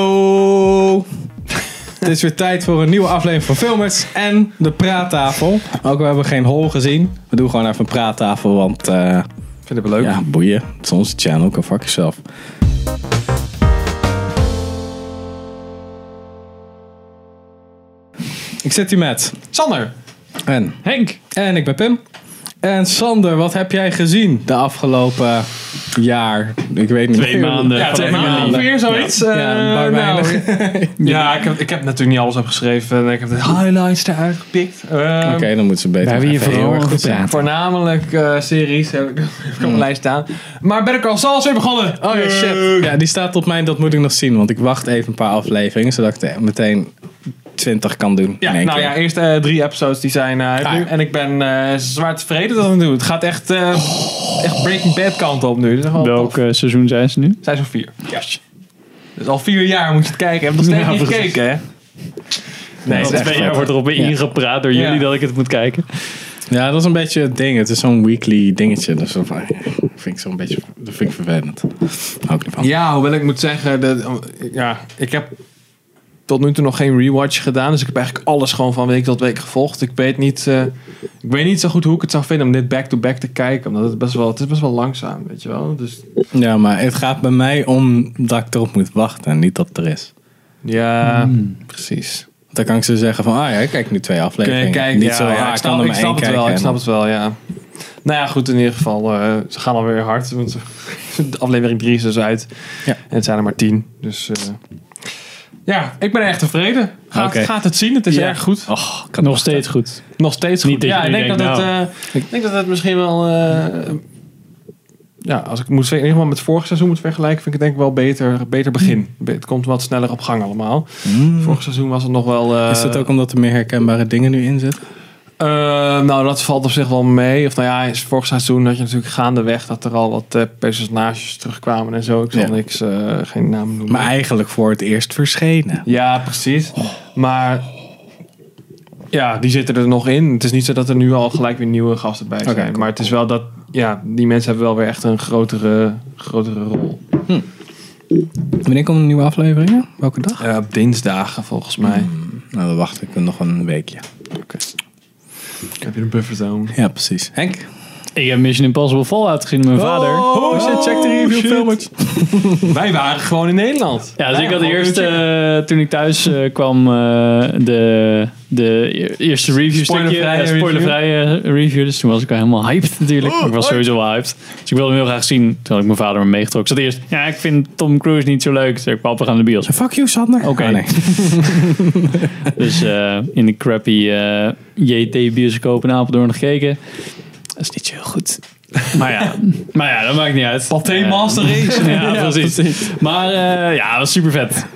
Theo! Het is weer tijd voor een nieuwe aflevering van Filmers en de praattafel. Ook we hebben geen hol gezien. We doen gewoon even een praattafel, want eh, Vind het leuk? ja, boeien. Het is onze channel, kan fuck yourself. Ik zit hier met Sander, en Henk, en ik ben Pim. En Sander, wat heb jij gezien de afgelopen jaar? Ik weet niet. Twee maanden. Ja, van twee één maanden maand. ongeveer zoiets. Eh, Ja, een paar nou, weinig. ja ik, heb, ik heb natuurlijk niet alles opgeschreven. en Ik heb de highlights eruit gepikt. Eh, Oké, dan moeten ze beter. We hebben nog even hier vooral heel erg over goed zijn. gepraat. Voornamelijk eh, series heb ik heb ik op mijn lijst staan. Maar Better Call Saul is weer begonnen. Hmm. Eh, Oh ja, shit. Ja, die staat op mijn, dat moet ik nog zien. Want ik wacht even een paar afleveringen, zodat ik er meteen 20 kan doen. Ja, in één nou keer. ja, eerst eh, drie episodes die zijn eh, Ah, nu. ja. En ik ben eh, zwaar tevreden dat we het doen. Het gaat echt, eh, Oh. echt Breaking Bad kant op nu. Dat is wel Welk tof. eh, seizoen zijn ze nu? Zij is al vier. Dus al vier jaar moet je het kijken. Ik heb nog steeds Ja, niet precies. gekeken, hè? Nee, dat het is is echt Twee echt jaar vet. wordt erop weer Ja. ingepraat door Ja. jullie dat ik het moet kijken. Ja, dat is een beetje het ding. Het is zo'n weekly dingetje. Dus dat vind ik zo'n beetje dat vind ik vervelend. Hou ik niet van. Ja, hoewel ik moet zeggen, dat, oh, ja, ik heb tot nu toe nog geen rewatch gedaan. Dus ik heb eigenlijk alles gewoon van week tot week gevolgd. Ik weet niet, eh, ik weet niet zo goed hoe ik het zou vinden om dit back-to-back te kijken. Omdat het best wel, het is best wel langzaam, weet je wel. Dus Ja, maar het gaat bij mij om dat ik erop moet wachten en niet dat het er is. ja, Hmm. precies. Dan kan ik ze zeggen van, ah ja, ik kijk nu twee Kun afleveringen. je kijken, niet ja, zo, ja, ah, ik ik snap, kan er ik maar snap één het kijken. wel, ik en- snap het wel, ja. Nou ja, goed, in ieder geval, eh, ze gaan alweer hard. Want ze- de aflevering 3 is dus uit. Ja. En het zijn er maar 10. Dus eh, ja, ik ben echt tevreden. Gaat, Oké. gaat het zien, het is Ja. erg goed. Och, ik kan Nog het steeds goed. Nog steeds Niet goed. dat je Ja, ik nu denk dat, denkt, het, eh, ik denk dat het misschien wel... eh, ja, als ik moet, ver- in ieder geval met het vorige seizoen moet vergelijken... vind ik het denk ik wel beter, beter begin. Be- Het komt wat sneller op gang allemaal. Hmm. Vorig seizoen was het Hm. nog wel... eh, Is dat ook omdat er meer herkenbare dingen nu in zitten? eh, nou, dat valt op zich wel mee. Of nou ja, is vorig seizoen had je natuurlijk gaandeweg... dat er al wat eh, personages terugkwamen en zo. Ik zal Ja. niks, eh, geen naam noemen. Maar eigenlijk voor het eerst verschenen. Ja, precies. Maar ja, die zitten er nog in. Het is niet zo dat er nu al gelijk weer nieuwe gasten bij zijn. Oké, cool, maar het is wel dat, ja, die mensen hebben wel weer echt een grotere, grotere rol. Wanneer komt een nieuwe aflevering? Welke dag? Eh, op dinsdagen volgens mij. Nou, dan wacht ik nog een weekje. Heb je een bufferzone? Ja, precies. Henk? Ik heb Mission Impossible Fallout gezien met mijn vader. Oh, shit, check de review shit. filmpjes. Wij waren gewoon in Nederland. Ja, dus Wij ik had waren eerst, gewoon- eh, toen ik thuis eh, kwam, eh, de, de e- eerste review Oh, stukje. Spoilervrije ja, Spoilervrije review. Dus toen was ik al helemaal hyped natuurlijk. ik was sowieso wel hyped. Dus ik wilde hem heel graag zien. Toen had ik mijn vader me meegetrokken. Ik zat eerst, ja, ik vind Tom Cruise niet zo leuk. Toen zei ik, papa, we gaan naar de bios. Fuck you, Sander. Oh, Oké. Ah, nee. Dus eh, in de crappy eh JT-bioscoop in Apeldoorn gekeken. Dat is niet zo heel goed. Maar ja, maar ja dat maakt niet uit. Pathé Eh, Master Race. Ja, precies. Maar eh, ja, dat was super vet.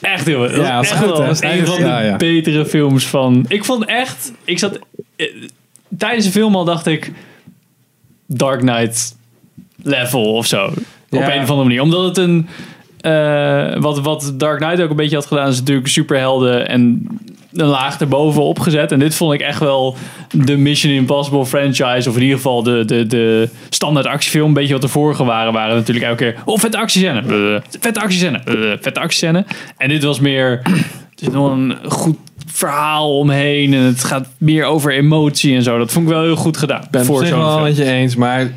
Echt heel dat Ja, dat was is echt goed, wel hè? Dat is een echt- van ja, de ja. betere films van. Ik vond echt. Ik zat. eh, tijdens de film al dacht ik. Dark Knight level of zo. Op Ja. een of andere manier. Omdat het een. eh, wat, wat Dark Knight ook een beetje had gedaan, is natuurlijk superhelden en een laag erboven opgezet. En dit vond ik echt wel de Mission Impossible franchise, of in ieder geval de, de, de standaard actiefilm. Een beetje wat de vorige waren, waren natuurlijk elke keer. Oh, vette actiescène. eh, vette actiescène. eh, vette actiescène. En dit was meer. Er zit nog een goed verhaal omheen. En het gaat meer over emotie en zo. Dat vond ik wel heel goed gedaan. ben het op voor zich zo'n wel film. met je eens, maar...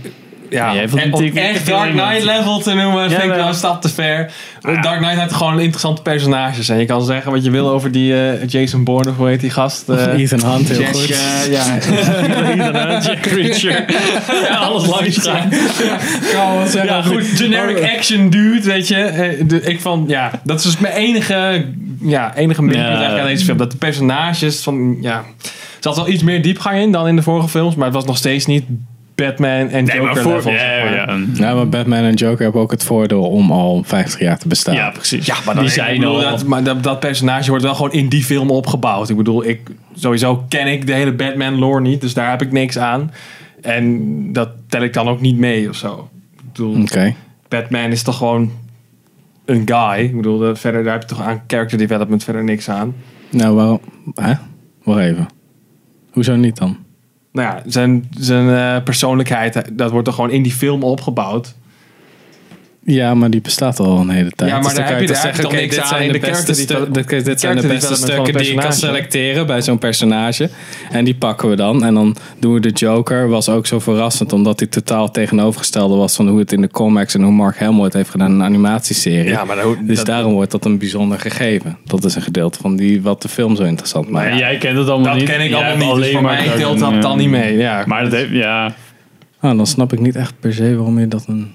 Ja, jij vond en het om natuurlijk echt niet Dark heel Knight level te noemen vind ik maar- wel een stap te ver. Ah. Dark Knight had gewoon interessante personages. En je kan zeggen wat je wil over die eh, Jason Bourne of hoe heet die gast? eh, Ethan Hunt, heel Jack, goed. eh, ja, Inderdaad, Jack Reacher. Ja, alles langs gaan. Ja, goed. Generic Oh. action dude, weet je. Eh, de- Ik vond, ja, dat is dus mijn enige, ja, enige minpunt Ja. eigenlijk aan deze film. Dat de personages van, ja, er zat wel iets meer diepgang in dan in de vorige films, maar het was nog steeds niet Batman en Nee, Joker maar voor, level. ja, zeg maar. ja, Ja, maar Batman en Joker hebben ook het voordeel om al 50 jaar te bestaan. ja, precies. Ja, maar die Ik zijn bedoel, al. dat, maar dat, dat personage wordt wel gewoon in die film opgebouwd. Ik bedoel, ik, sowieso ken ik de hele Batman lore niet, dus daar heb ik niks aan. En dat tel ik dan ook niet mee of zo. Ik bedoel, Oké. Batman is toch gewoon een guy. Ik bedoel, eh, verder daar heb je toch aan character development verder niks aan. Nou, wel... Hè? Wacht even. Hoezo niet dan? Nou ja, zijn, zijn eh, persoonlijkheid, eh, dat wordt toch gewoon in die film opgebouwd. Ja, maar die bestaat al een hele tijd. Ja, maar Dus dan daar kan heb je toch eigenlijk zeggen, al oké, niks dit aan zijn in de de character beste stu- development- dit- Dit zijn de character beste development van stukken een die je kan personage. selecteren bij zo'n personage. En die pakken we dan. En dan doen we de Joker. Was ook zo verrassend, omdat hij totaal tegenovergestelde was van hoe het in de comics en hoe Mark Hamill het heeft gedaan in een animatieserie. Ja, maar daar- dus dat- daarom wordt dat een bijzonder gegeven. Dat is een gedeelte van die, wat de film zo interessant maakt. Maar jij kent het allemaal Dat niet. ken ik Jij hebt allemaal niet. Dus alleen voor maar mij Dark telt Knight, dat ja. dan niet mee. Ja. Maar dat heeft, ja. Ah, dan snap ik niet echt per se waarom je dat een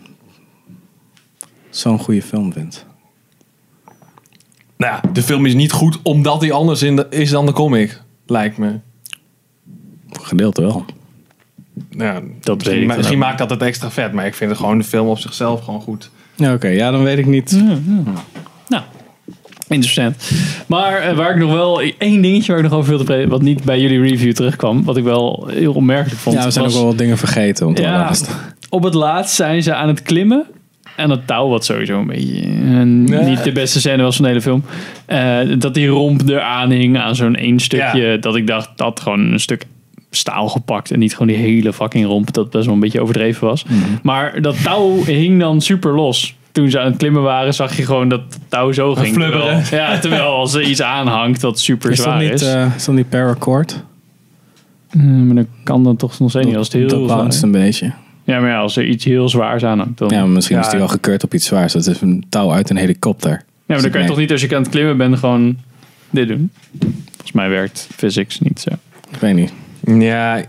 zo'n goede film vindt. Nou, ja, de film is niet goed omdat hij anders in de- is dan de comic. Lijkt me. Voor gedeelte wel. Ja, weet misschien ik ma- dan misschien ook. maakt dat het extra vet. Maar ik vind het gewoon de film op zichzelf gewoon goed. Ja, Oké, ja, dan weet ik niet. Nou, interessant. Maar eh, waar ik nog wel één dingetje waar ik nog over wilde praten, wat niet bij jullie review terugkwam, wat ik wel heel onmerkelijk vond. ja, we zijn was- ook wel wat dingen vergeten. Want Ja. ja. Op het laatst zijn ze aan het klimmen. En dat touw, wat sowieso een beetje eh, niet de beste scène was van de hele film. eh, dat die romp eraan hing aan zo'n één stukje. Dat ik dacht, dat gewoon een stuk staal gepakt. En niet gewoon die hele fucking romp. Dat best wel een beetje overdreven was. Maar dat touw hing dan super los. Toen ze aan het klimmen waren, zag je gewoon dat het touw zo ging. Terwijl, flubberen. ja, terwijl als er iets aanhangt dat super is, dat zwaar niet, is. eh, is dat niet paracord? Eh, maar dan kan dat toch nog steeds niet als het heel dat zwaar bounced is. een beetje. Ja, maar ja, als er iets heel zwaars aanhangt, dan... Ja, maar misschien Ja. is die wel gekeurd op iets zwaars. Dat is een touw uit een helikopter. Ja, maar dan kan je Nee. toch niet als je aan het klimmen bent gewoon dit doen. Volgens mij werkt physics niet zo. Ik weet niet. Ja,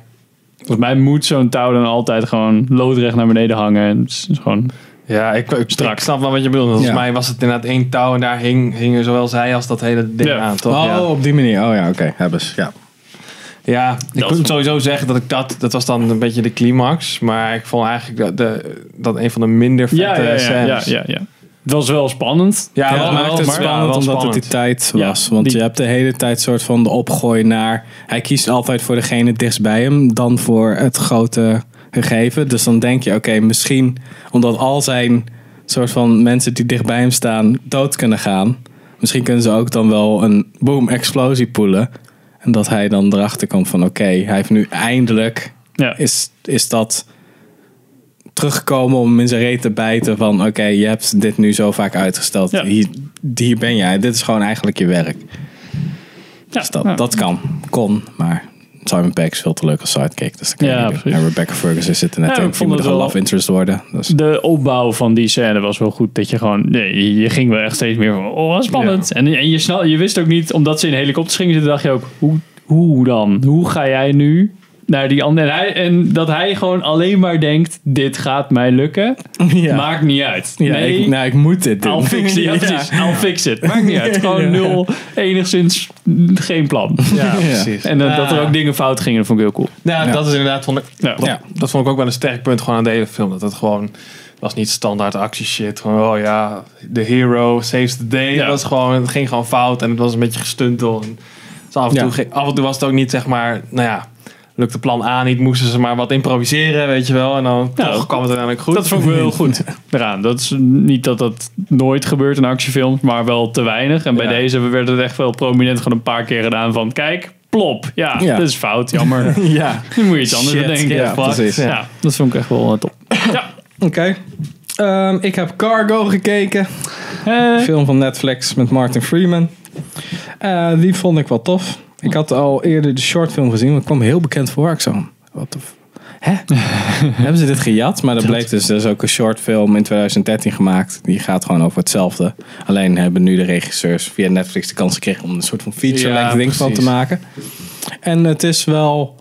Volgens mij moet zo'n touw dan altijd gewoon loodrecht naar beneden hangen. En het is gewoon, ja ik, ik, Strak. ik snap wel wat je bedoelt. Volgens Ja. mij was het inderdaad één touw en daar hing, hingen zowel zij als dat hele ding Ja. aan. Toch? oh, Ja. op die manier. Oh ja, oké. Hebben ze. Ja. Ja, ik Dat- moet sowieso zeggen dat ik dat, dat was dan een beetje de climax. Maar ik vond eigenlijk dat, de, dat een van de minder vette ja, ja, ja, ja, ja, scènes. ja, ja. Het was wel spannend. Ja, Ja, wel, dat maakt het maar- ja, spannend wel omdat spannend. het die tijd Ja, was. Want die- je hebt de hele tijd soort van de opgooi naar... Hij kiest altijd voor degene het dichtst bij hem dan voor het grote gegeven. Dus dan denk je, oké, misschien omdat al zijn soort van mensen die dicht bij hem staan dood kunnen gaan. Misschien kunnen ze ook dan wel een boom explosie poelen. En dat hij dan erachter komt van oké, hij heeft nu eindelijk Ja. is, is dat terugkomen om in zijn reet te bijten van oké, je hebt dit nu zo vaak uitgesteld. Ja. Hier, hier ben jij. Dit is gewoon eigenlijk je werk. Ja, Dus dat, ja. dat kan. Kon, maar Simon Peck is veel te leuk als sidekick. Dus dat kan Ja, je niet doen. precies. En Rebecca Ferguson zit er net Ja, in. ik Die vond moet het gewoon wel- love interest worden. Dus. De opbouw van die scène was wel goed. Dat je gewoon, nee, je ging wel echt steeds meer van, oh, wat spannend. En, en je, snel, je wist ook niet, omdat ze in helikopters gingen zitten, dacht je ook, hoe, hoe dan? Hoe ga jij nu naar die andere? En, hij, en dat hij gewoon alleen maar denkt, dit gaat mij lukken. Ja. Maakt niet uit. ja, nee, ik, nou, ik moet dit doen. I'll fix it. Ja, Ja, precies. I'll fix it. Maakt niet uit. Gewoon nul, enigszins mm, geen plan. Ja, Ja. precies. En eh, dat er Ah. ook dingen fout gingen, dat vond ik heel cool. Ja, dat is inderdaad van Ja. Dat, Ja. dat vond ik ook wel een sterk punt gewoon aan de hele film. Dat het gewoon was niet standaard actieshit. Gewoon, oh ja, de hero saves the day. Ja. Het, was gewoon, het ging gewoon fout en het was een beetje gestuntel. En dus af, en Ja. toe, ging- af en toe was het ook niet zeg maar, nou ja, lukte plan A niet. Moesten ze maar wat improviseren, weet je wel. En dan Ja. toch kwam het uiteindelijk goed. Dat vond ik wel heel goed eraan. Dat is niet dat dat nooit gebeurt in actiefilms, maar wel te weinig. En bij Ja. deze werd het echt wel prominent gewoon een paar keer gedaan van kijk, plop. Ja, Ja. dat is fout, jammer. Nu moet je iets anders Shit, bedenken. ja, Fuck. precies. Ja, dat vond ik echt wel eh, top. Ja. Oké. Ehm, ik heb Cargo gekeken. Eh, film van Netflix met Martin Freeman. Eh, die vond ik wel tof. Ik had al eerder de shortfilm gezien, want het kwam heel bekend voor. Ik zo, wat de... f- Hè? Hebben ze dit gejat? Maar dat bleek dus, er is ook een shortfilm in 2013 gemaakt. Die gaat gewoon over hetzelfde. Alleen hebben nu de regisseurs via Netflix de kans gekregen om een soort van feature-length Ja, ding van te precies. maken. En het is wel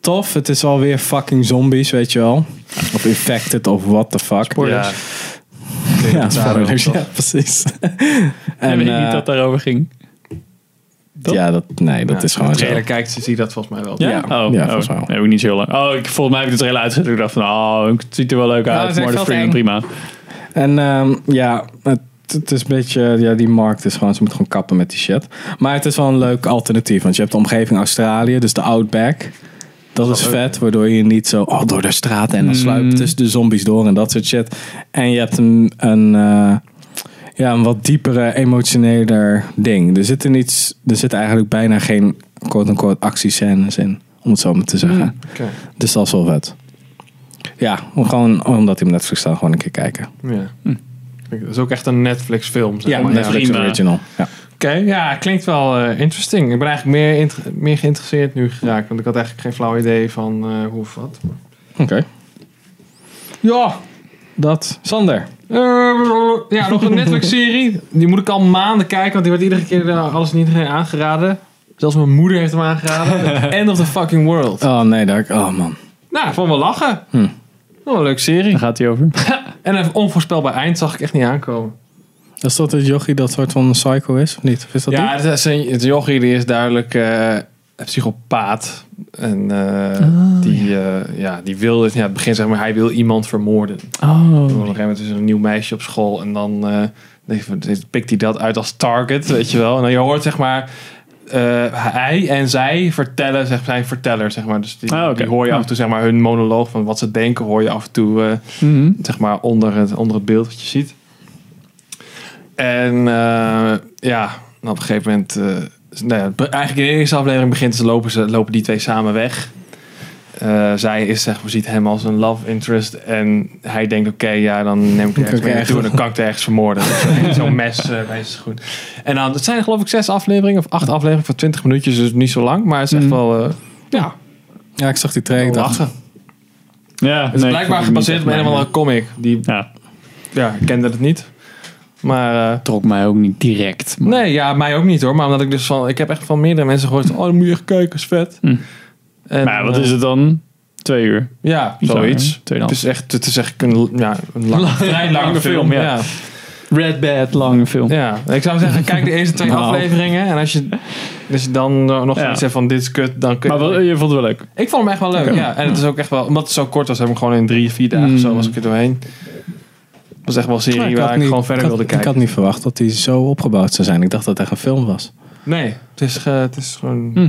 tof. Het is alweer fucking zombies, weet je wel. Of infected of what the fuck. Ja. Ja, spoilers. toch? Ja, precies. en weet ik eh, niet dat daarover ging. toch? Ja, dat, nee, dat Ja, is gewoon als je zo. eerlijk kijkt, zie je dat volgens mij wel. Ja, Ja. oh, Ja, oh. volgens mij wel. Nee, heb ik niet zo heel lang. Oh, ik, volgens mij heb ik de trailer uitgezet. Ik dacht van, oh, het ziet er wel leuk Ja, Nou, het uit. is echt Morgan wel Freeman, eng. prima. En ehm, ja, het, het is een beetje, ja, die markt is gewoon, ze moeten gewoon kappen met die shit. Maar het is wel een leuk alternatief, want je hebt de omgeving Australië, dus de Outback. Dat is vet, waardoor je niet zo oh, door de straten en dan sluipen tussen de zombies door en dat soort shit. En je hebt een, een, eh, ja, een wat diepere, emotioneler ding. Er zitten, niet, er zitten eigenlijk bijna geen quote-unquote actiescènes in, om het zo maar te zeggen. Oké. Dus dat is wel vet. Ja, gewoon omdat hij op Netflix staat, gewoon een keer kijken. Ja. Vind ik- Dat is ook echt een Netflix film. Zeg Hm. Ja, maar. Netflix prima. original. Ja. Oké, ja, klinkt wel eh, interesting. Ik ben eigenlijk meer, inter- meer geïnteresseerd nu geraakt. Want ik had eigenlijk geen flauw idee van eh, hoe of wat. Oké. Ja, dat. Sander. Eh, ja, nog een Netflix-serie. Die moet ik al maanden kijken, want die wordt iedere keer eh, alles en iedereen aangeraden. Zelfs mijn moeder heeft hem aangeraden. End of the fucking world. Oh nee, daar. Oh man. Nou, ik vond wel lachen. Hm. Wel een leuke serie. Daar gaat hij over. En een onvoorspelbaar eind zag ik echt niet aankomen. Dat is dat het jochie dat soort van psycho is, of niet? Of is dat ja, die? het, is een- het jochie die is duidelijk eh, een psychopaat. En eh, Ah. Oh, die, eh, ja, die wil, ja, het begin zeg maar, hij wil iemand vermoorden. Oh. Op een gegeven moment is er een nieuw meisje op school en dan eh, denk je van, pikt hij dat uit als target, weet je wel. En dan je hoort zeg maar, eh, hij en zij vertellen, zeg, zijn verteller, zeg maar. Dus die, Ah, oké. die hoor je af en toe, zeg maar, hun monoloog van wat ze denken, hoor je af en toe, eh, Mhm. zeg maar, onder het, onder het beeld wat je ziet. En eh, ja, en op een gegeven moment, eh, is- nou ja, be- eigenlijk in de eerste aflevering begint ze lopen, ze, lopen die twee samen weg. Eh, zij is, zeg maar, ziet hem als een love interest. En hij denkt, oké, ja, dan neem ik Kan ik er ergens mee ergens- naartoe en dan kan ik er ergens vermoorden. Zo'n- Zo'n mes eh, bij zijn schoen. En dan, het zijn geloof ik zes afleveringen of acht afleveringen van 20 minuutjes. Dus niet zo lang, maar het is echt Mm. wel, eh, ja, Ja, ik zag die trailer. ik dacht, lachen. Ja, Het is nee, blijkbaar ik vond gebaseerd op het een of niet andere echt comic. Die, mijn- eh, Ja, ja, ik kende het niet. Maar... eh, trok mij ook niet direct. maar- Nee, ja, mij ook niet hoor. Maar omdat ik dus van, ik heb echt van meerdere mensen gehoord. Oh, dan moet je echt kijken, is vet. Hm. En, Maar ja, wat eh, is het dan? Twee uur. Ja, Iets zoiets. langer, Het tweeënhalf. is echt, het is echt een, ja, een lange, vrij lange lange film. film, ja. ja. Red Bad, lange film. Ja. ik zou zeggen, kijk de eerste twee Nou. afleveringen. En als je, als je dan eh, nog Ja. iets hebt van dit is kut, dan kun je... Maar wel, eh, je vond het wel leuk. ik vond hem echt wel leuk. Ja. En het is ook echt wel, omdat het zo kort was, heb ik hem gewoon in drie, vier dagen Mm. zo was ik er doorheen. Het was echt wel een serie nou, waar had ik niet- gewoon verder ik had- wilde kijken. Ik had niet verwacht dat die zo opgebouwd zou zijn. Ik dacht dat het echt een film was. Nee, het is, ge- het is gewoon Hm.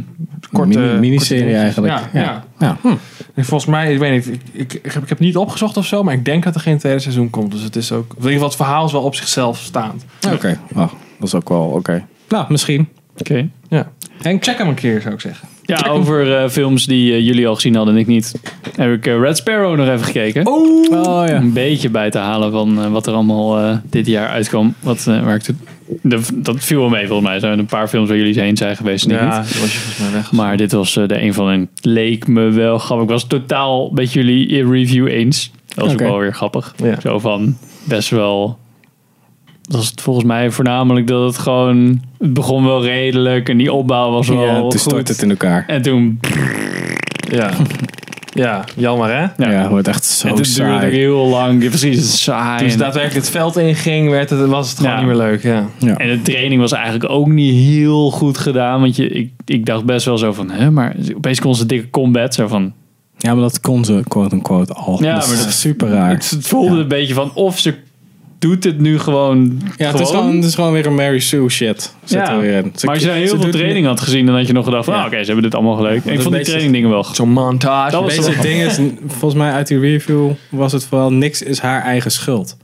korte... Mini- miniserie korte dingetjes. eigenlijk. Ja, Ja. ja. Ja, hm. En volgens mij, ik weet niet, ik, ik, ik heb, ik heb niet opgezocht of zo, maar ik denk dat er geen tweede seizoen komt. Dus het is ook, in ieder geval het verhaal is wel op zichzelf staand. oké. Oh, dat is ook wel oké. Nou, misschien. Oké. En check hem een keer, zou ik zeggen. Ja, over eh, films die eh, jullie al gezien hadden en ik niet. Heb ik eh, Red Sparrow nog even gekeken. Oh! Oh ja. Een beetje bij te halen van eh, wat er allemaal eh, dit jaar uitkwam. Wat, eh, waar ik toen- dat- dat viel wel mee volgens mij. Er zijn een paar films waar jullie heen zijn geweest. en ik niet. Ja, dat was je volgens mij weg. Maar dit was eh, de een van hen. Leek me wel grappig. Ik was totaal met jullie review eens. Dat was Oké. ook wel weer grappig. Ja. Zo van best wel. Dat was het volgens mij voornamelijk dat het gewoon. Het begon wel redelijk en die opbouw was wel. Ja, toen goed. stort het in elkaar. En toen. Ja. ja, jammer hè? Ja. Ja, het wordt echt zo nou, en toen duurde het ook saai. heel lang. Ja, precies, het is saai. Toen ze en- daadwerkelijk het veld inging, werd het, was het gewoon Ja. niet meer leuk. Ja. Ja. En de training was eigenlijk ook niet heel goed gedaan. Want je, ik, ik dacht best wel zo van, hè, maar opeens kon ze dikke combat. Zo van, ja, maar dat kon ze quote-unquote al. Ja, Ja, dat maar is dat- super raar. het, het voelde Ja. een beetje van, of ze doet het nu Ja, het gewoon. gewoon. is, gewoon, het is gewoon weer een Mary Sue shit. Zit Ja. er weer in. Ze- maar als je nou heel ze veel doet niet- training had gezien, dan had je nog gedacht van, Ja. ah, oké, ze hebben dit allemaal geleuk. Ik is vond die basic. training dingen wel Zo'n montage. Dat was weet je Het wel. ding is, n- volgens mij uit die review was het vooral niks is haar eigen schuld.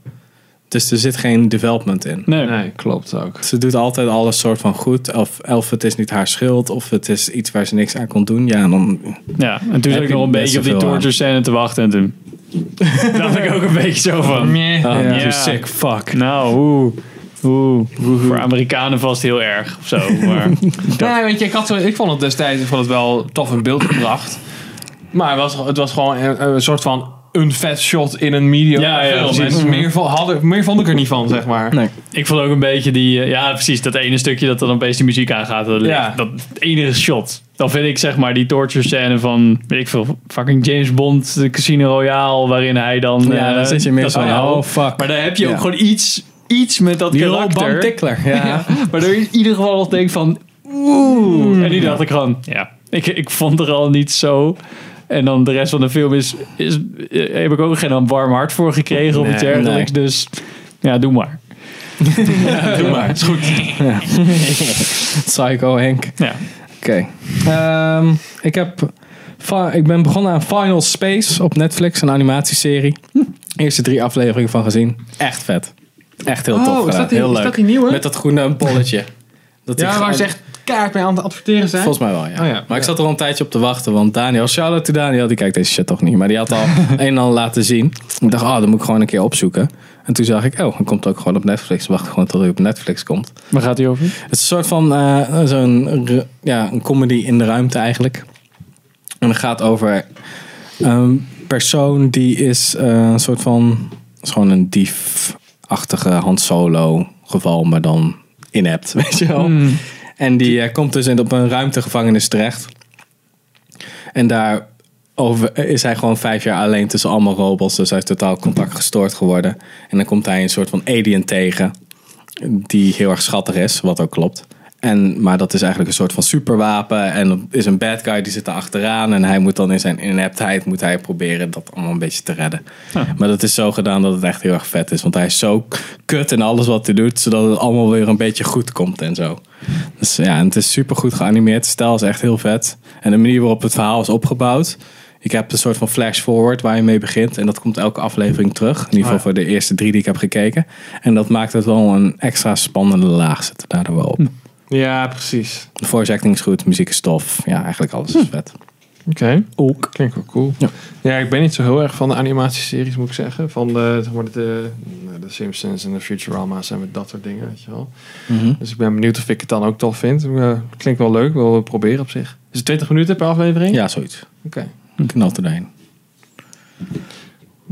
Dus er zit geen development in. Nee. Nee, klopt ook. Ze doet altijd alles soort van goed. Of, of het is niet haar schuld. Of het is iets waar ze niks aan kon doen. Ja, en dan... Ja, en toen zat Heb ik je nog een best beetje op die zoveel aan. torture scène te wachten. En toen dacht ik ook een beetje zo van, Meh. Oh, Ja. you Ja. sick fuck. nou, oeh. Oeh, voor Amerikanen vast heel erg of zo. Maar Nee, weet je, ik, had zo, ik vond het destijds ik vond het wel tof in beeld gebracht. Maar het was, het was gewoon een, een soort van een vet shot in een medium Ja, ja, film. precies. En meer, vo- had, meer vond ik er niet van, zeg maar. Nee. Ik vond ook een beetje die, eh, ja precies, dat ene stukje dat dan opeens die muziek aangaat. Dat, Ja. dat enige shot. Dan vind ik zeg maar die torture scène van, weet ik veel, fucking James Bond, de Casino Royale, waarin hij dan... Ja, eh, dan zit je meer dat zo van, verhaal- oh, fuck. Maar dan heb je Ja. ook gewoon iets, iets met dat Die Robam karakter. Tickler. Ja. Waardoor je in ieder geval nog denkt van, oeh. En die dacht ik gewoon, ja, ik, ik vond er al niet zo... En dan de rest van de film is, is, eh, heb ik ook geen warm hart voor gekregen of Nee, iets dergelijks. Dus ja, doe maar. Doe maar, het is goed. Psycho Henk. Ja. Oké. Ehm, ik, heb, fa- ik ben begonnen aan Final Space op Netflix, een animatieserie. Hm. Eerste drie afleveringen van gezien. Echt Oh, Oh, vet. Echt heel tof gedaan. heel leuk. nieuwe? Met dat groene bolletje. Dat die ja, gewoon- waar ze echt kaart mee aan het adverteren zijn? Volgens mij wel, ja. Oh ja. Maar ik zat er al een tijdje op te wachten, want Daniel, shout out to Daniel, die kijkt deze shit toch niet. Maar die had al een en ander laten zien. Ik dacht, oh, dat moet ik gewoon een keer opzoeken. En toen zag ik, oh, dan komt het ook gewoon op Netflix. Wacht gewoon tot hij op Netflix komt. Waar gaat hij over? Het is een soort van eh, zo'n r- ja, een comedy in de ruimte eigenlijk. En het gaat over een persoon die is eh, een soort van... Het is gewoon een diefachtige Han Solo geval, maar dan inept, weet je wel. En die eh, komt dus in- op een ruimtegevangenis terecht. En daar over, is hij gewoon vijf jaar alleen tussen allemaal robots. Dus hij is totaal contact gestoord geworden. En dan komt hij een soort van alien tegen. Die heel erg schattig is, wat ook klopt. En, maar dat is eigenlijk een soort van superwapen. En er is een bad guy die zit er achteraan. En hij moet dan in zijn ineptheid moet hij proberen dat allemaal een beetje te redden. Maar dat is zo gedaan dat het echt heel erg vet is. Want hij is zo k- kut in alles wat hij doet. Zodat het allemaal weer een beetje goed komt en zo. Dus ja, en het is super goed geanimeerd. Het stijl is echt heel vet. En de manier waarop het verhaal is opgebouwd. Ik heb een soort van flash forward waar je mee begint. En dat komt elke aflevering terug. In ieder geval voor de eerste drie die ik heb gekeken. En dat maakt het wel een extra spannende laag. Zit er daardoor wel op. Ja, precies. De voice acting is goed, muziek is tof. Ja, eigenlijk alles is vet. Oké. Ook. Klinkt wel cool. Ja. Ja. ik ben niet zo heel erg van de animatieseries, moet ik zeggen. Van de, zeg maar, de, de Simpsons en de Futurama's en met dat soort dingen, weet je wel. Dus ik ben benieuwd of ik het dan ook tof vind. Eh, klinkt wel leuk, wil we proberen op zich. Is het 20 minuten per aflevering? Ja, zoiets. Oké. Knalt er doorheen.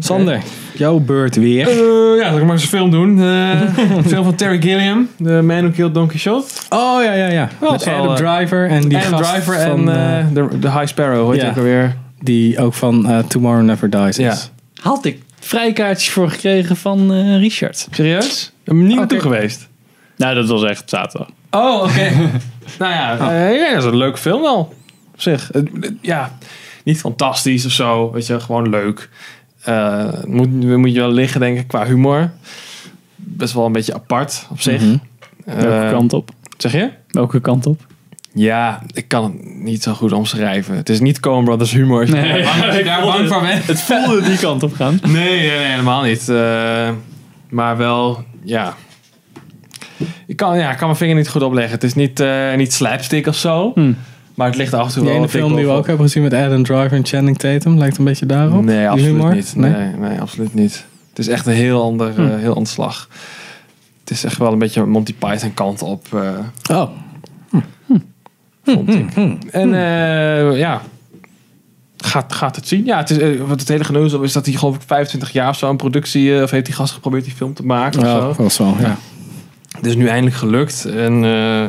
Sander, jouw beurt weer. Eh, ja, dan kan ik maar eens een film doen. Eh, een film van Terry Gilliam, The Man Who Killed Don Quixote. Oh ja, ja, ja. Wel, Met zal, Adam eh, Driver en die Adam gast Driver en van, eh, eh, de, de High Sparrow, hoor je Ja. ook alweer. die ook van eh, Tomorrow Never Dies Ja. is. Had ik vrijkaartjes voor gekregen van eh, Richard. Serieus? Ik ben niet naartoe Oké. geweest. Nou, dat was echt zaterdag. Oh, oké. nou ja, eh, ja, dat is een leuke film wel. Op zich. Het- het- Ja, niet fantastisch of zo. Weet je, gewoon leuk. Eh, moet, moet je wel liggen, denk ik, qua humor. Best wel een beetje apart op zich. Mhm. Welke Eh, kant op? zeg je? Welke kant op? Ja, ik kan het niet zo goed omschrijven. Het is niet Coen Brothers humor. als je Nee. daar bang- als je daar bang voor bent. Het voelde die kant op gaan. Nee, nee, nee, helemaal niet. Eh, maar wel, ja. Ik kan, ja, ik kan mijn vinger niet goed opleggen. Het is niet, eh, niet slapstick of zo. Hmm. Maar het ligt af en toe Hm. Die wel ene wat dik film die we op. ook hebben gezien met Adam Driver en Channing Tatum. Lijkt een beetje daarop. Nee, Die absoluut humor? niet. Nee? Hm. Nee? Nee, absoluut niet. Het is echt een heel ander, eh, heel ander slag. Het is echt wel een beetje Monty Python kant op. eh, Oh. vond ik. En eh, ja, gaat, gaat het zien. Ja, het, is, eh, wat het hele geneuzel is dat hij geloof ik 25 jaar of zo een productie... eh, of heeft die gast geprobeerd die film te maken of Ja, zo. dat was wel, ja. Het is nu eindelijk gelukt. En eh,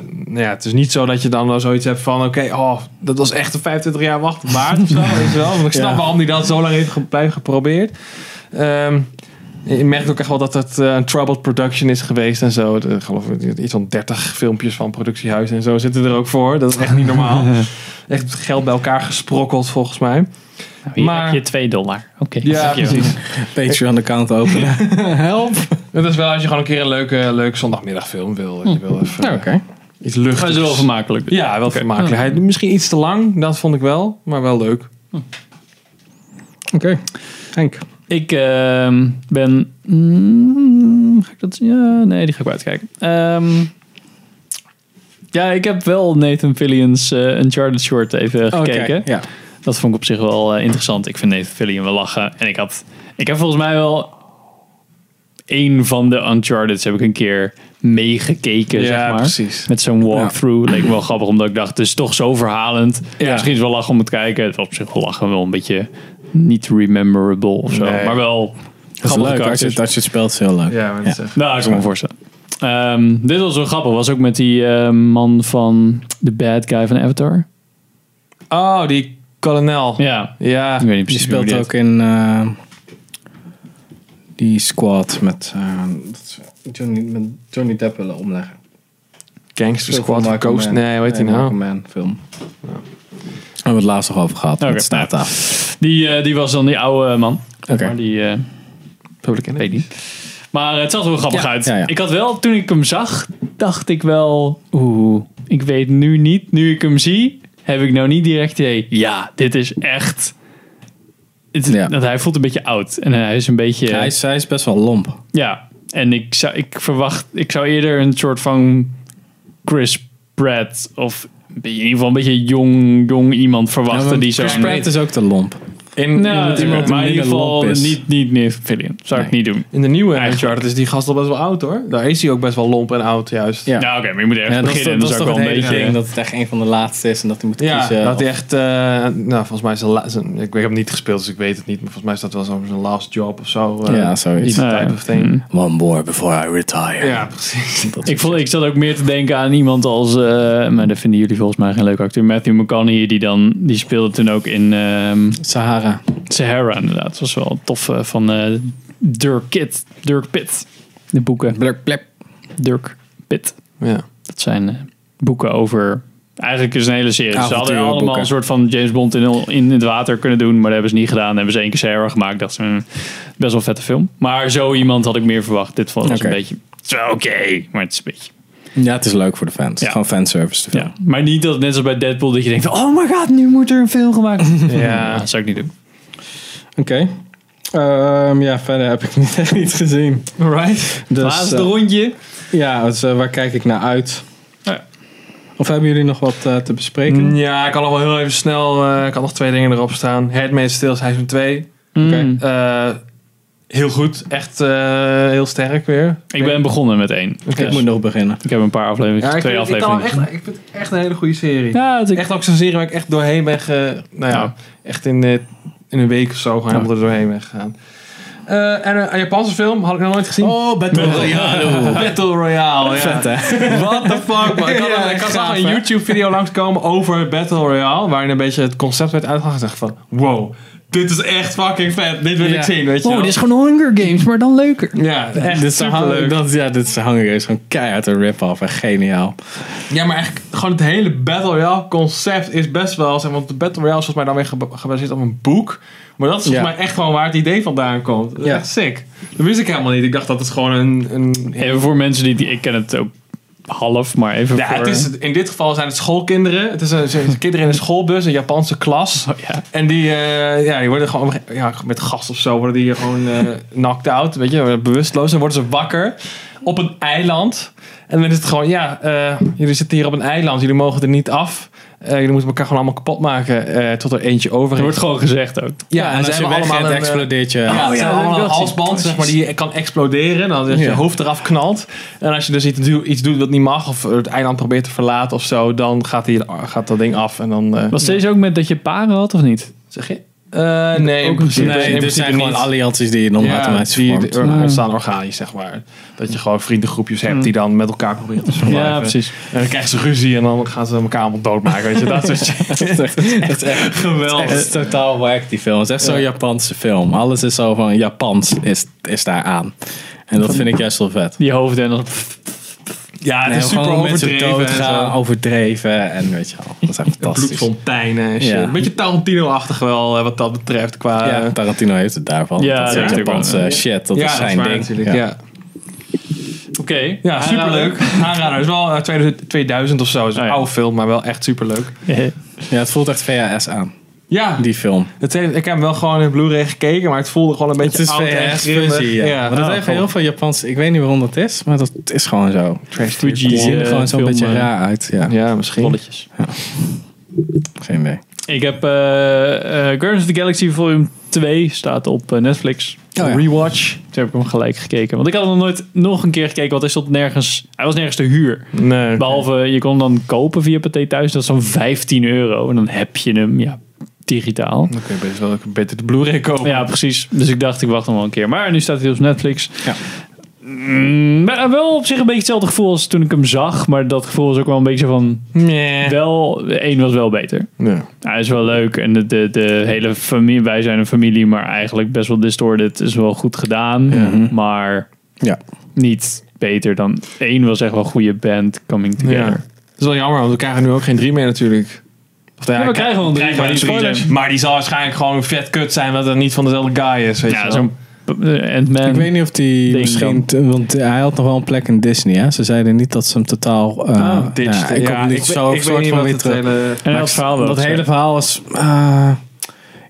nou ja, het is niet zo dat je dan wel zoiets hebt van... oké, oh, dat was echt een 25 jaar wachten waard of zo. Weet je wel? Want ik snap Ja. waarom hij dat zo lang heeft ge- blijven geprobeerd. Ehm, je merkt ook echt wel dat het eh, een troubled production is geweest en zo. Er, geloof ik, iets van 30 filmpjes van productiehuizen en zo zitten er ook voor. Dat is echt niet normaal. Echt geld bij elkaar gesprokkeld volgens mij. Hier Maar- heb je 2 dollar. Oké. Ja, dankjewel. precies. Patreon-account openen. Help. Dat is wel als je gewoon een keer een leuke, leuke zondagmiddagfilm wil. Dat je wil even, Ja, Oké. eh, iets luchtigs. Maar het is wel vermakelijk. Ja, wel vermakelijk. Hij- Misschien iets te lang, dat vond ik wel, maar wel leuk. Oké. Henk. Ik ehm, ben. mm, ga ik dat? Ja, nee, die ga ik wel uitkijken. Ehm, ja, ik heb wel Nathan Fillion's eh, Uncharted Short even gekeken. Oké, Ja. Dat vond ik op zich wel eh, interessant. Ik vind Nathan Fillion wel lachen. En ik had. Ik heb volgens mij wel. één van de Uncharted's heb ik een keer meegekeken, zeg maar. precies. Met zo'n walkthrough. Leek me wel grappig, omdat ik dacht, het is toch zo verhalend. Ja. Misschien is het wel lachen om het kijken. Het was op zich wel lachen, wel een beetje niet rememberable of zo. Nee. Maar wel Dat is grappige leuk. Als je, karakters. het- als je het speelt is het heel leuk. Ja, maar dat is echt- Nou, ik kan me voorstellen. Ehm, dit was wel grappig. Was ook met die eh, man van de bad guy van Avatar. Oh, die kolonel. Ja. Ja, ik weet niet Die precies wie speelt die ook in eh, die squad met, eh, dat is Johnny, met Johnny Depp willen omleggen. Gangster Speelt van Squad, Michael Ghost. Mann. Nee, hoe heet hij Michael nou? Mann film. Daar hebben we het laatst nog over gehad. Oké. Het staat daar. heet. Die, eh, die was dan die oude man. Oké. Maar die, eh, Public weet niet. Maar eh, het zag er wel grappig Ja, uit. ja, ja. Ik had wel, toen ik hem zag, dacht ik wel... Oeh, ik weet nu niet. Nu ik hem zie, heb ik nou niet direct het idee... Ja, dit is echt... Het, Ja. Want hij voelt een beetje oud. En hij is een beetje... Hij, is, hij is best wel lomp. Ja, en ik zou, ik verwacht, ik zou eerder een soort van Chris Pratt of een beetje- in ieder geval een beetje jong, jong iemand verwachten Nou, want die zo... Chris Pratt is ook te lomp. In, Nou, in, de- iemand die maar in ieder minder geval lomp is. niet, niet meer Fillion. Zou ik Nee. niet doen. in de nieuwe Eigenlijk. Uncharted is die gast al best wel oud hoor. Daar is hij ook best wel lomp en oud juist. Ja. Nou oké, maar je moet ergens Ja, dat is, beginnen. dus toch- en dat is toch dat is ook het wel een hele beetje... ding, dat het echt een van de laatste is en dat hij moet Ja, kiezen. dat of- hij echt, eh, nou volgens mij is zijn la- zijn, ik, ik heb hem niet gespeeld dus ik weet het niet, maar volgens mij is dat wel zo'n zijn last job of zo. eh, ja, zoiets. iets Nou ja. type of thing. Mm. One more before I retire. Ja, precies. Dat Ik, vond, ik zat ook meer te denken aan iemand als, eh, maar dat vinden jullie volgens mij geen leuke acteur, Matthew McConaughey, die dan, die speelde toen ook in ehm, Sahara. Sahara inderdaad. Dat was wel tof eh, van eh, Dirk Kit, Dirk Pitt, de boeken. Blurp, blurp. Dirk Pitt, Ja. dat zijn eh, boeken over, eigenlijk is het een hele serie. Ze hadden Avonturenboeken. allemaal een soort van James Bond in, in het water kunnen doen, maar dat hebben ze niet gedaan. Dat hebben ze één keer Sahara gemaakt, dacht ze, "Hmm, best wel vette film. Maar zo iemand had ik meer verwacht. Dit vond ik Oké. een beetje, het is wel oké, maar het is een beetje... Ja, het is leuk voor de fans. Het is Ja. Gewoon fanservice te veel. Ja, maar niet dat net zoals bij Deadpool dat je denkt: van, oh my god, nu moet er een film gemaakt worden. Ja. dat zou ik niet doen. Oké. Ehm, ja, verder heb ik niet, echt niet gezien. Alright. Dus, Laatste eh, rondje. Ja, dus, eh, waar kijk ik naar uit? Ja. Of hebben jullie nog wat eh, te bespreken? Mm, Ja, ik kan nog wel heel even snel. eh, ik had nog twee dingen erop staan. Handmaid's Tale seizoen 2. Mm. oké. Eh, heel goed. Echt eh, heel sterk weer. Ik ben begonnen met één. Oké. Ik Dus moet nog beginnen. ik heb een paar afleveringen, Ja, ik, twee vind, ik, kan afleveringen. hem echt, ik vind het echt een hele goede serie. ja, het- ik- Echt ook zo'n serie waar ik echt doorheen ben ge, Nou ja, Ja. echt in, eh, in een week of zo gewoon helemaal er doorheen ben gegaan. Eh, en een, een Japanse film had ik nog nooit gezien. Oh, Battle Royale. Battle Royale, ja. Vet, hè? What the fuck, man. Ik had, Ja, ik had gaaf, zag hè? een YouTube-video langskomen over Battle Royale, waarin een beetje het concept werd uitgehaald. Ik dacht van, wow, dit is echt fucking vet. Dit wil Ja. ik zien, weet je Wow, wel. dit is gewoon Hunger Games, maar dan leuker. Ja, echt dit is superleuk. hang- dat, ja, dit is Hunger is gewoon keihard een rip-off en geniaal. Ja, maar eigenlijk gewoon het hele Battle Royale concept is best wel... Zeg, want de Battle Royale is volgens mij dan weer geba- gebaseerd op een boek. Maar dat is volgens Ja. mij echt gewoon waar het idee vandaan komt. Dat is Ja. Echt sick. Dat wist ik helemaal niet. Ik dacht dat het gewoon een... een Even voor mensen die, die- ik ken het ook half, maar even ja, voor... het is, in dit geval zijn het schoolkinderen. Het is een, zijn kinderen in een schoolbus, een Japanse klas. Oh, ja. En die, eh, ja, die worden gewoon ja, met gas of zo, worden die hier gewoon eh, knocked out, weet je, bewusteloos. En worden ze wakker op een eiland. En dan is het gewoon, ja, eh, jullie zitten hier op een eiland, jullie mogen er niet af. Eh, jullie moeten elkaar gewoon allemaal kapot maken eh, tot er eentje over Er is. wordt gewoon gezegd ook. ja, en, als ze je hebben allemaal wegrent, een, eh, explodeert je. ja, Oh het ja, zijn dat heb ik allemaal wel een gezien. halsband, zeg maar, Precies. die kan exploderen. Dan als je Ja. hoofd eraf knalt. En als je dus iets, doet- iets doet wat niet mag, of het eiland probeert te verlaten of zo, dan gaat, die, gaat dat ding af. En dan eh, Was deze ook met dat je paren had of niet? zeg je. eh, nee, Ook in principe, een- in Nee, er principe zijn gewoon niet. allianties die je dan ja, automatisch die, vormt. die Ja. ontstaan organisch, zeg maar. Dat je gewoon vriendengroepjes hebt die dan met elkaar proberen te verlaten. Ja, precies. En dan krijgen ze ruzie en dan gaan ze elkaar allemaal doodmaken. Weet je, dat soort shit. Dat is echt- dat is echt Het Geweldig. is totaal wack, die film. Het is echt zo'n Ja. Japanse film. Alles is zo van Japans is, is daar aan. En dat vind ik juist wel vet. Die hoofden en dan... Ja, het Nee, is super gewoon mensen overdreven. en doodgaan, zo. overdreven en weet je wel. Dat is echt fantastisch. Bloedfonteinen en shit. Ja. Een beetje Tarantino-achtig wel, eh, wat dat betreft. Qua, eh, Ja, Tarantino heeft het daarvan. dat Ja, ja, is echt natuurlijk Japanse wel. shit. Dat ja, is zijn waar ding. natuurlijk, Ja, ja. Oké. superleuk. Aanrader. Het is wel uit 2000 2000 of zo. Het is een Oh ja. oude film, maar wel echt superleuk. Ja, het voelt echt VHS aan, Ja, die film. het heeft, ik heb hem wel gewoon in Blu-ray gekeken, maar het voelde gewoon een Het beetje is oud en VHS-versie, grimmig. ja. Maar dat Oh, heeft cool. heel veel Japanse... Ik weet niet waarom dat is, maar dat is gewoon zo. Trash Fuji. Die Die, zien er eh, gewoon zo'n film, beetje eh, raar uit. Ja, Ja, misschien. Rolletjes. geen idee. Ik heb eh eh, Guardians of the Galaxy Volume 2 staat op eh, Netflix. Oh, ja. Rewatch. Toen heb ik hem gelijk gekeken. Want ik had hem nog nooit nog een keer gekeken, want hij stond nergens. Hij was nergens te huur. Nee. Behalve eh, je kon hem dan kopen via Pathé thuis. Dat is zo'n 15 euro. En dan heb je hem, ja, digitaal. Dan kun je best wel beter de Blu-ray kopen. Ja, precies. Dus ik dacht, ik wacht nog wel een keer. Maar nu staat hij dus op Netflix. Ja. Mm, maar wel op zich een beetje hetzelfde gevoel als toen ik hem zag. Maar dat gevoel was ook wel een beetje zo van... Nee. Wel, één was wel beter. Ja. Hij is wel leuk en de, de, de hele familie, wij zijn een familie, maar eigenlijk best wel distorted. Is wel goed gedaan, maar Mhm. Ja. niet beter dan één was echt wel een goede band coming together. Ja. Het is wel jammer, want we krijgen nu ook geen drie meer natuurlijk. Of Ja, we krijgen wel een drie, maar maar, die die spoilers. zijn- maar die zal waarschijnlijk gewoon vet kut zijn, dat het niet van dezelfde guy is. Weet je Ja, wel. zo'n eh, Ant-Man. Ik weet niet of die ding misschien... Want hij had nog wel een plek in Disney, hè? Ze zeiden niet dat ze hem totaal... eh Ah, dit ja, ik kom niet zo soort van weer terug. En dat Maar verhaal wel. Dat zo. hele verhaal was... eh,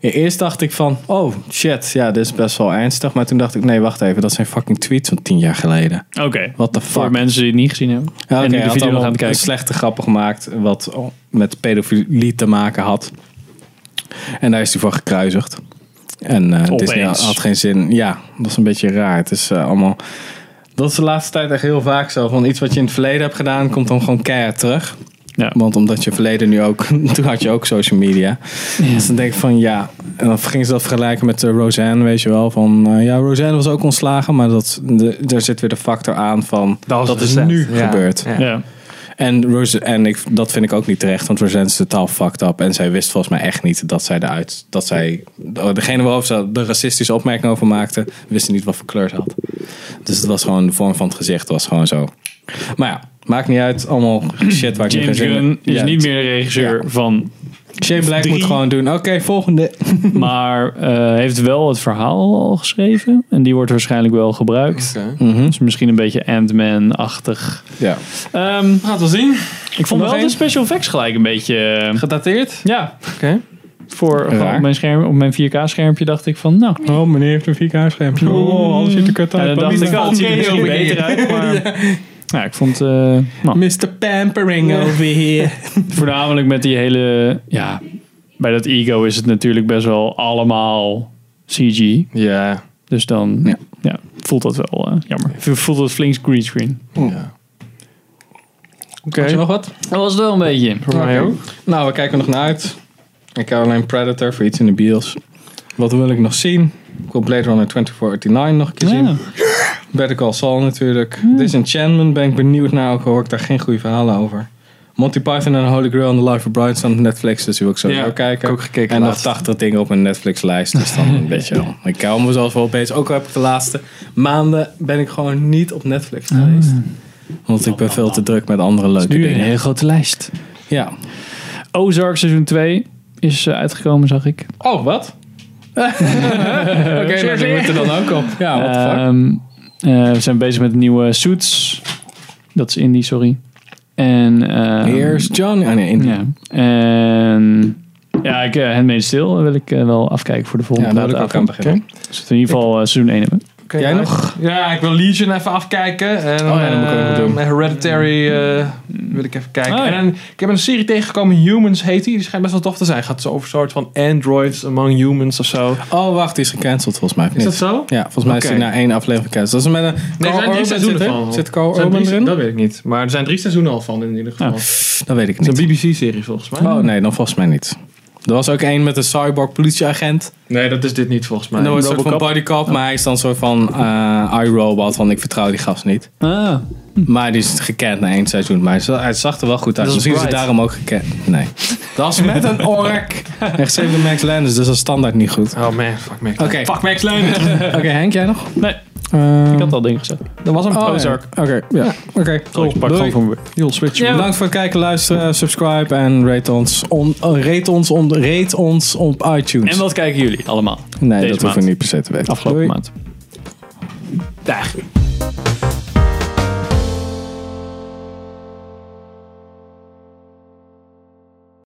Eerst dacht ik van, oh shit, ja, dit is best wel ernstig. Maar toen dacht ik, nee, wacht even, dat zijn fucking tweets van tien jaar geleden. Oké. What the Voor fuck? mensen die het niet gezien hebben. Ja, oké, en die hij de had video nog allemaal aan het een kijken. slechte grappen gemaakt wat met pedofilie te maken had. En daar is hij voor gekruisigd. En eh Disney Opeens. had geen zin. Ja, dat is een beetje raar. Het is eh, allemaal... Dat is de laatste tijd echt heel vaak zo. Van iets wat je in het verleden hebt gedaan, komt dan gewoon keihard terug. Ja. Want omdat je verleden nu ook... Toen had je ook social media. Dus dan denk ik van ja... En dan gingen ze dat vergelijken met eh, Roseanne, weet je wel. Van eh, ja, Roseanne was ook ontslagen. Maar dat, de, daar zit weer de factor aan van... Dat, is recent. nu Ja. gebeurd. Ja. Ja. En, Rose, en ik, dat vind ik ook niet terecht, want Roseanne is totaal fucked up. En zij wist volgens mij echt niet dat zij eruit. Dat zij. oh, Degene waarover ze de racistische opmerking over maakte, wisten niet wat voor kleur ze had. Dus het was gewoon de vorm van het gezicht, was gewoon zo. Maar ja, maakt niet uit. Allemaal shit waar ik nu geen James zin in- Gunn is Ja, niet meer de regisseur van... Shane Black Drie. moet gewoon doen. Oké, volgende. Maar eh, heeft wel het verhaal al geschreven. En die wordt waarschijnlijk wel gebruikt. Oké. Mhm. Dus misschien een beetje Ant-Man-achtig. Ja. Ehm, Gaat wel zien. ik vond Nog wel de één? special effects gelijk een beetje... eh, Gedateerd. ja, Oké. voor Raar. gewoon op mijn, scherm, op mijn 4K-schermpje dacht ik van... Nou, Oh, meneer heeft een 4K-schermpje. Oh, alles ziet er kut Ja, dan dacht ik, wel. oh, het ziet er Oké, misschien oké. beter uit. Maar, ja, ik vond eh, nou, Mr. Pampering over here. voornamelijk met die hele... Ja, bij dat ego is het natuurlijk best wel allemaal CG. Ja. Dus dan ja. Ja. voelt dat wel eh, jammer. V- Voelt dat flink greenscreen. Ja. Oké. Had je nog wat? Dat was het wel een beetje. Voor mij Oké. ook. Nou, we kijken er nog naar uit. Ik hou alleen Predator voor iets in de bios. Wat wil ik nog zien? Ik wil Blade Runner 2049 nog een keer zien. Ja. Better Call Saul natuurlijk. Disenchantment ben ik benieuwd naar, ook al hoor ik daar geen goede verhalen over. Monty Python en The Holy Grail en The Life of Brian staan op Netflix, dus die wil ik sowieso Ja, kijken. ik ook gekeken en nog laatst. 80 dingen op mijn Netflix lijst, dus dan weet je wel. Ik hou mezelf wel bezig. Ook al heb ik de laatste maanden ben ik gewoon niet op Netflix geweest. Want ik ben veel te druk met andere leuke Nu een dingen. hele grote lijst. Ja. Ozark seizoen 2 is eh, uitgekomen, zag ik. Oh, wat? Oké, nou, die moet er dan ook op. Ja, Ah, what the fuck. Ehm, eh, we zijn bezig met de nieuwe Suits. Dat is indie, sorry. En ehm, Here's Johnny. Ah, nee, in- Ja. En ja, ik, eh, Handmaid's Tale wil ik eh, wel afkijken voor de volgende Ja, daar wil ik ook aan plaatavond. beginnen. Zodat we in ieder geval eh, seizoen 1 hebben. Oké, Jij nou, nog? ik- Ja, ik wil Legion even afkijken. En, Oh ja, dat moet ik ook nog eh, doen. Hereditary Mm. eh, wil ik even kijken. Oh ja. En ik heb een serie tegengekomen, Humans heet die. Die schijnt best wel tof te zijn. Gaat zo over een soort van androids among humans of zo. Oh, wacht, die is gecanceld volgens mij. of Is niet? dat zo? Ja, volgens mij is die Oké. na één aflevering gecanceld. Dat is met een Nee, er Carl zijn drie Urban seizoenen zit er? van. Zit Carl Er zijn Urban drie- erin? Dat weet ik niet. Maar er zijn drie seizoenen al van in ieder geval. Ja. Het Dat weet ik is niet. een BBC-serie volgens mij. Oh nee, dan volgens mij niet. Er was ook één met een cyborg politieagent. Nee, dat is dit niet volgens mij. En dan wordt een soort van Robocop. bodycop, maar hij is dan een soort van eh iRobot, want ik vertrouw die gast niet. Ah, Maar die is gekend na één seizoen, maar hij zag- hij zag er wel goed uit. Hm. Dat is Misschien is het Bright. daarom ook gekend. Nee. Dat is met een ork. En geschreven door Max Landis, dus dat is standaard niet goed. Oh man, fuck Max. Oké. Fuck Max Lane. Oké, Henk, jij nog? Eh, nee, ik had al dingen gezegd. dat was een Oh, ja. Ozark. Oké, ja. Oké, Cool, cool. ik pak Doei. gewoon van weer. Heel switch. Ja. Bedankt voor het kijken, luisteren, subscribe en rate ons, on, eh, rate ons, on, rate ons op iTunes. En wat kijken jullie allemaal nee, dat deze maand. hoeven we niet per se te weten. afgelopen Doei. maand? Dag.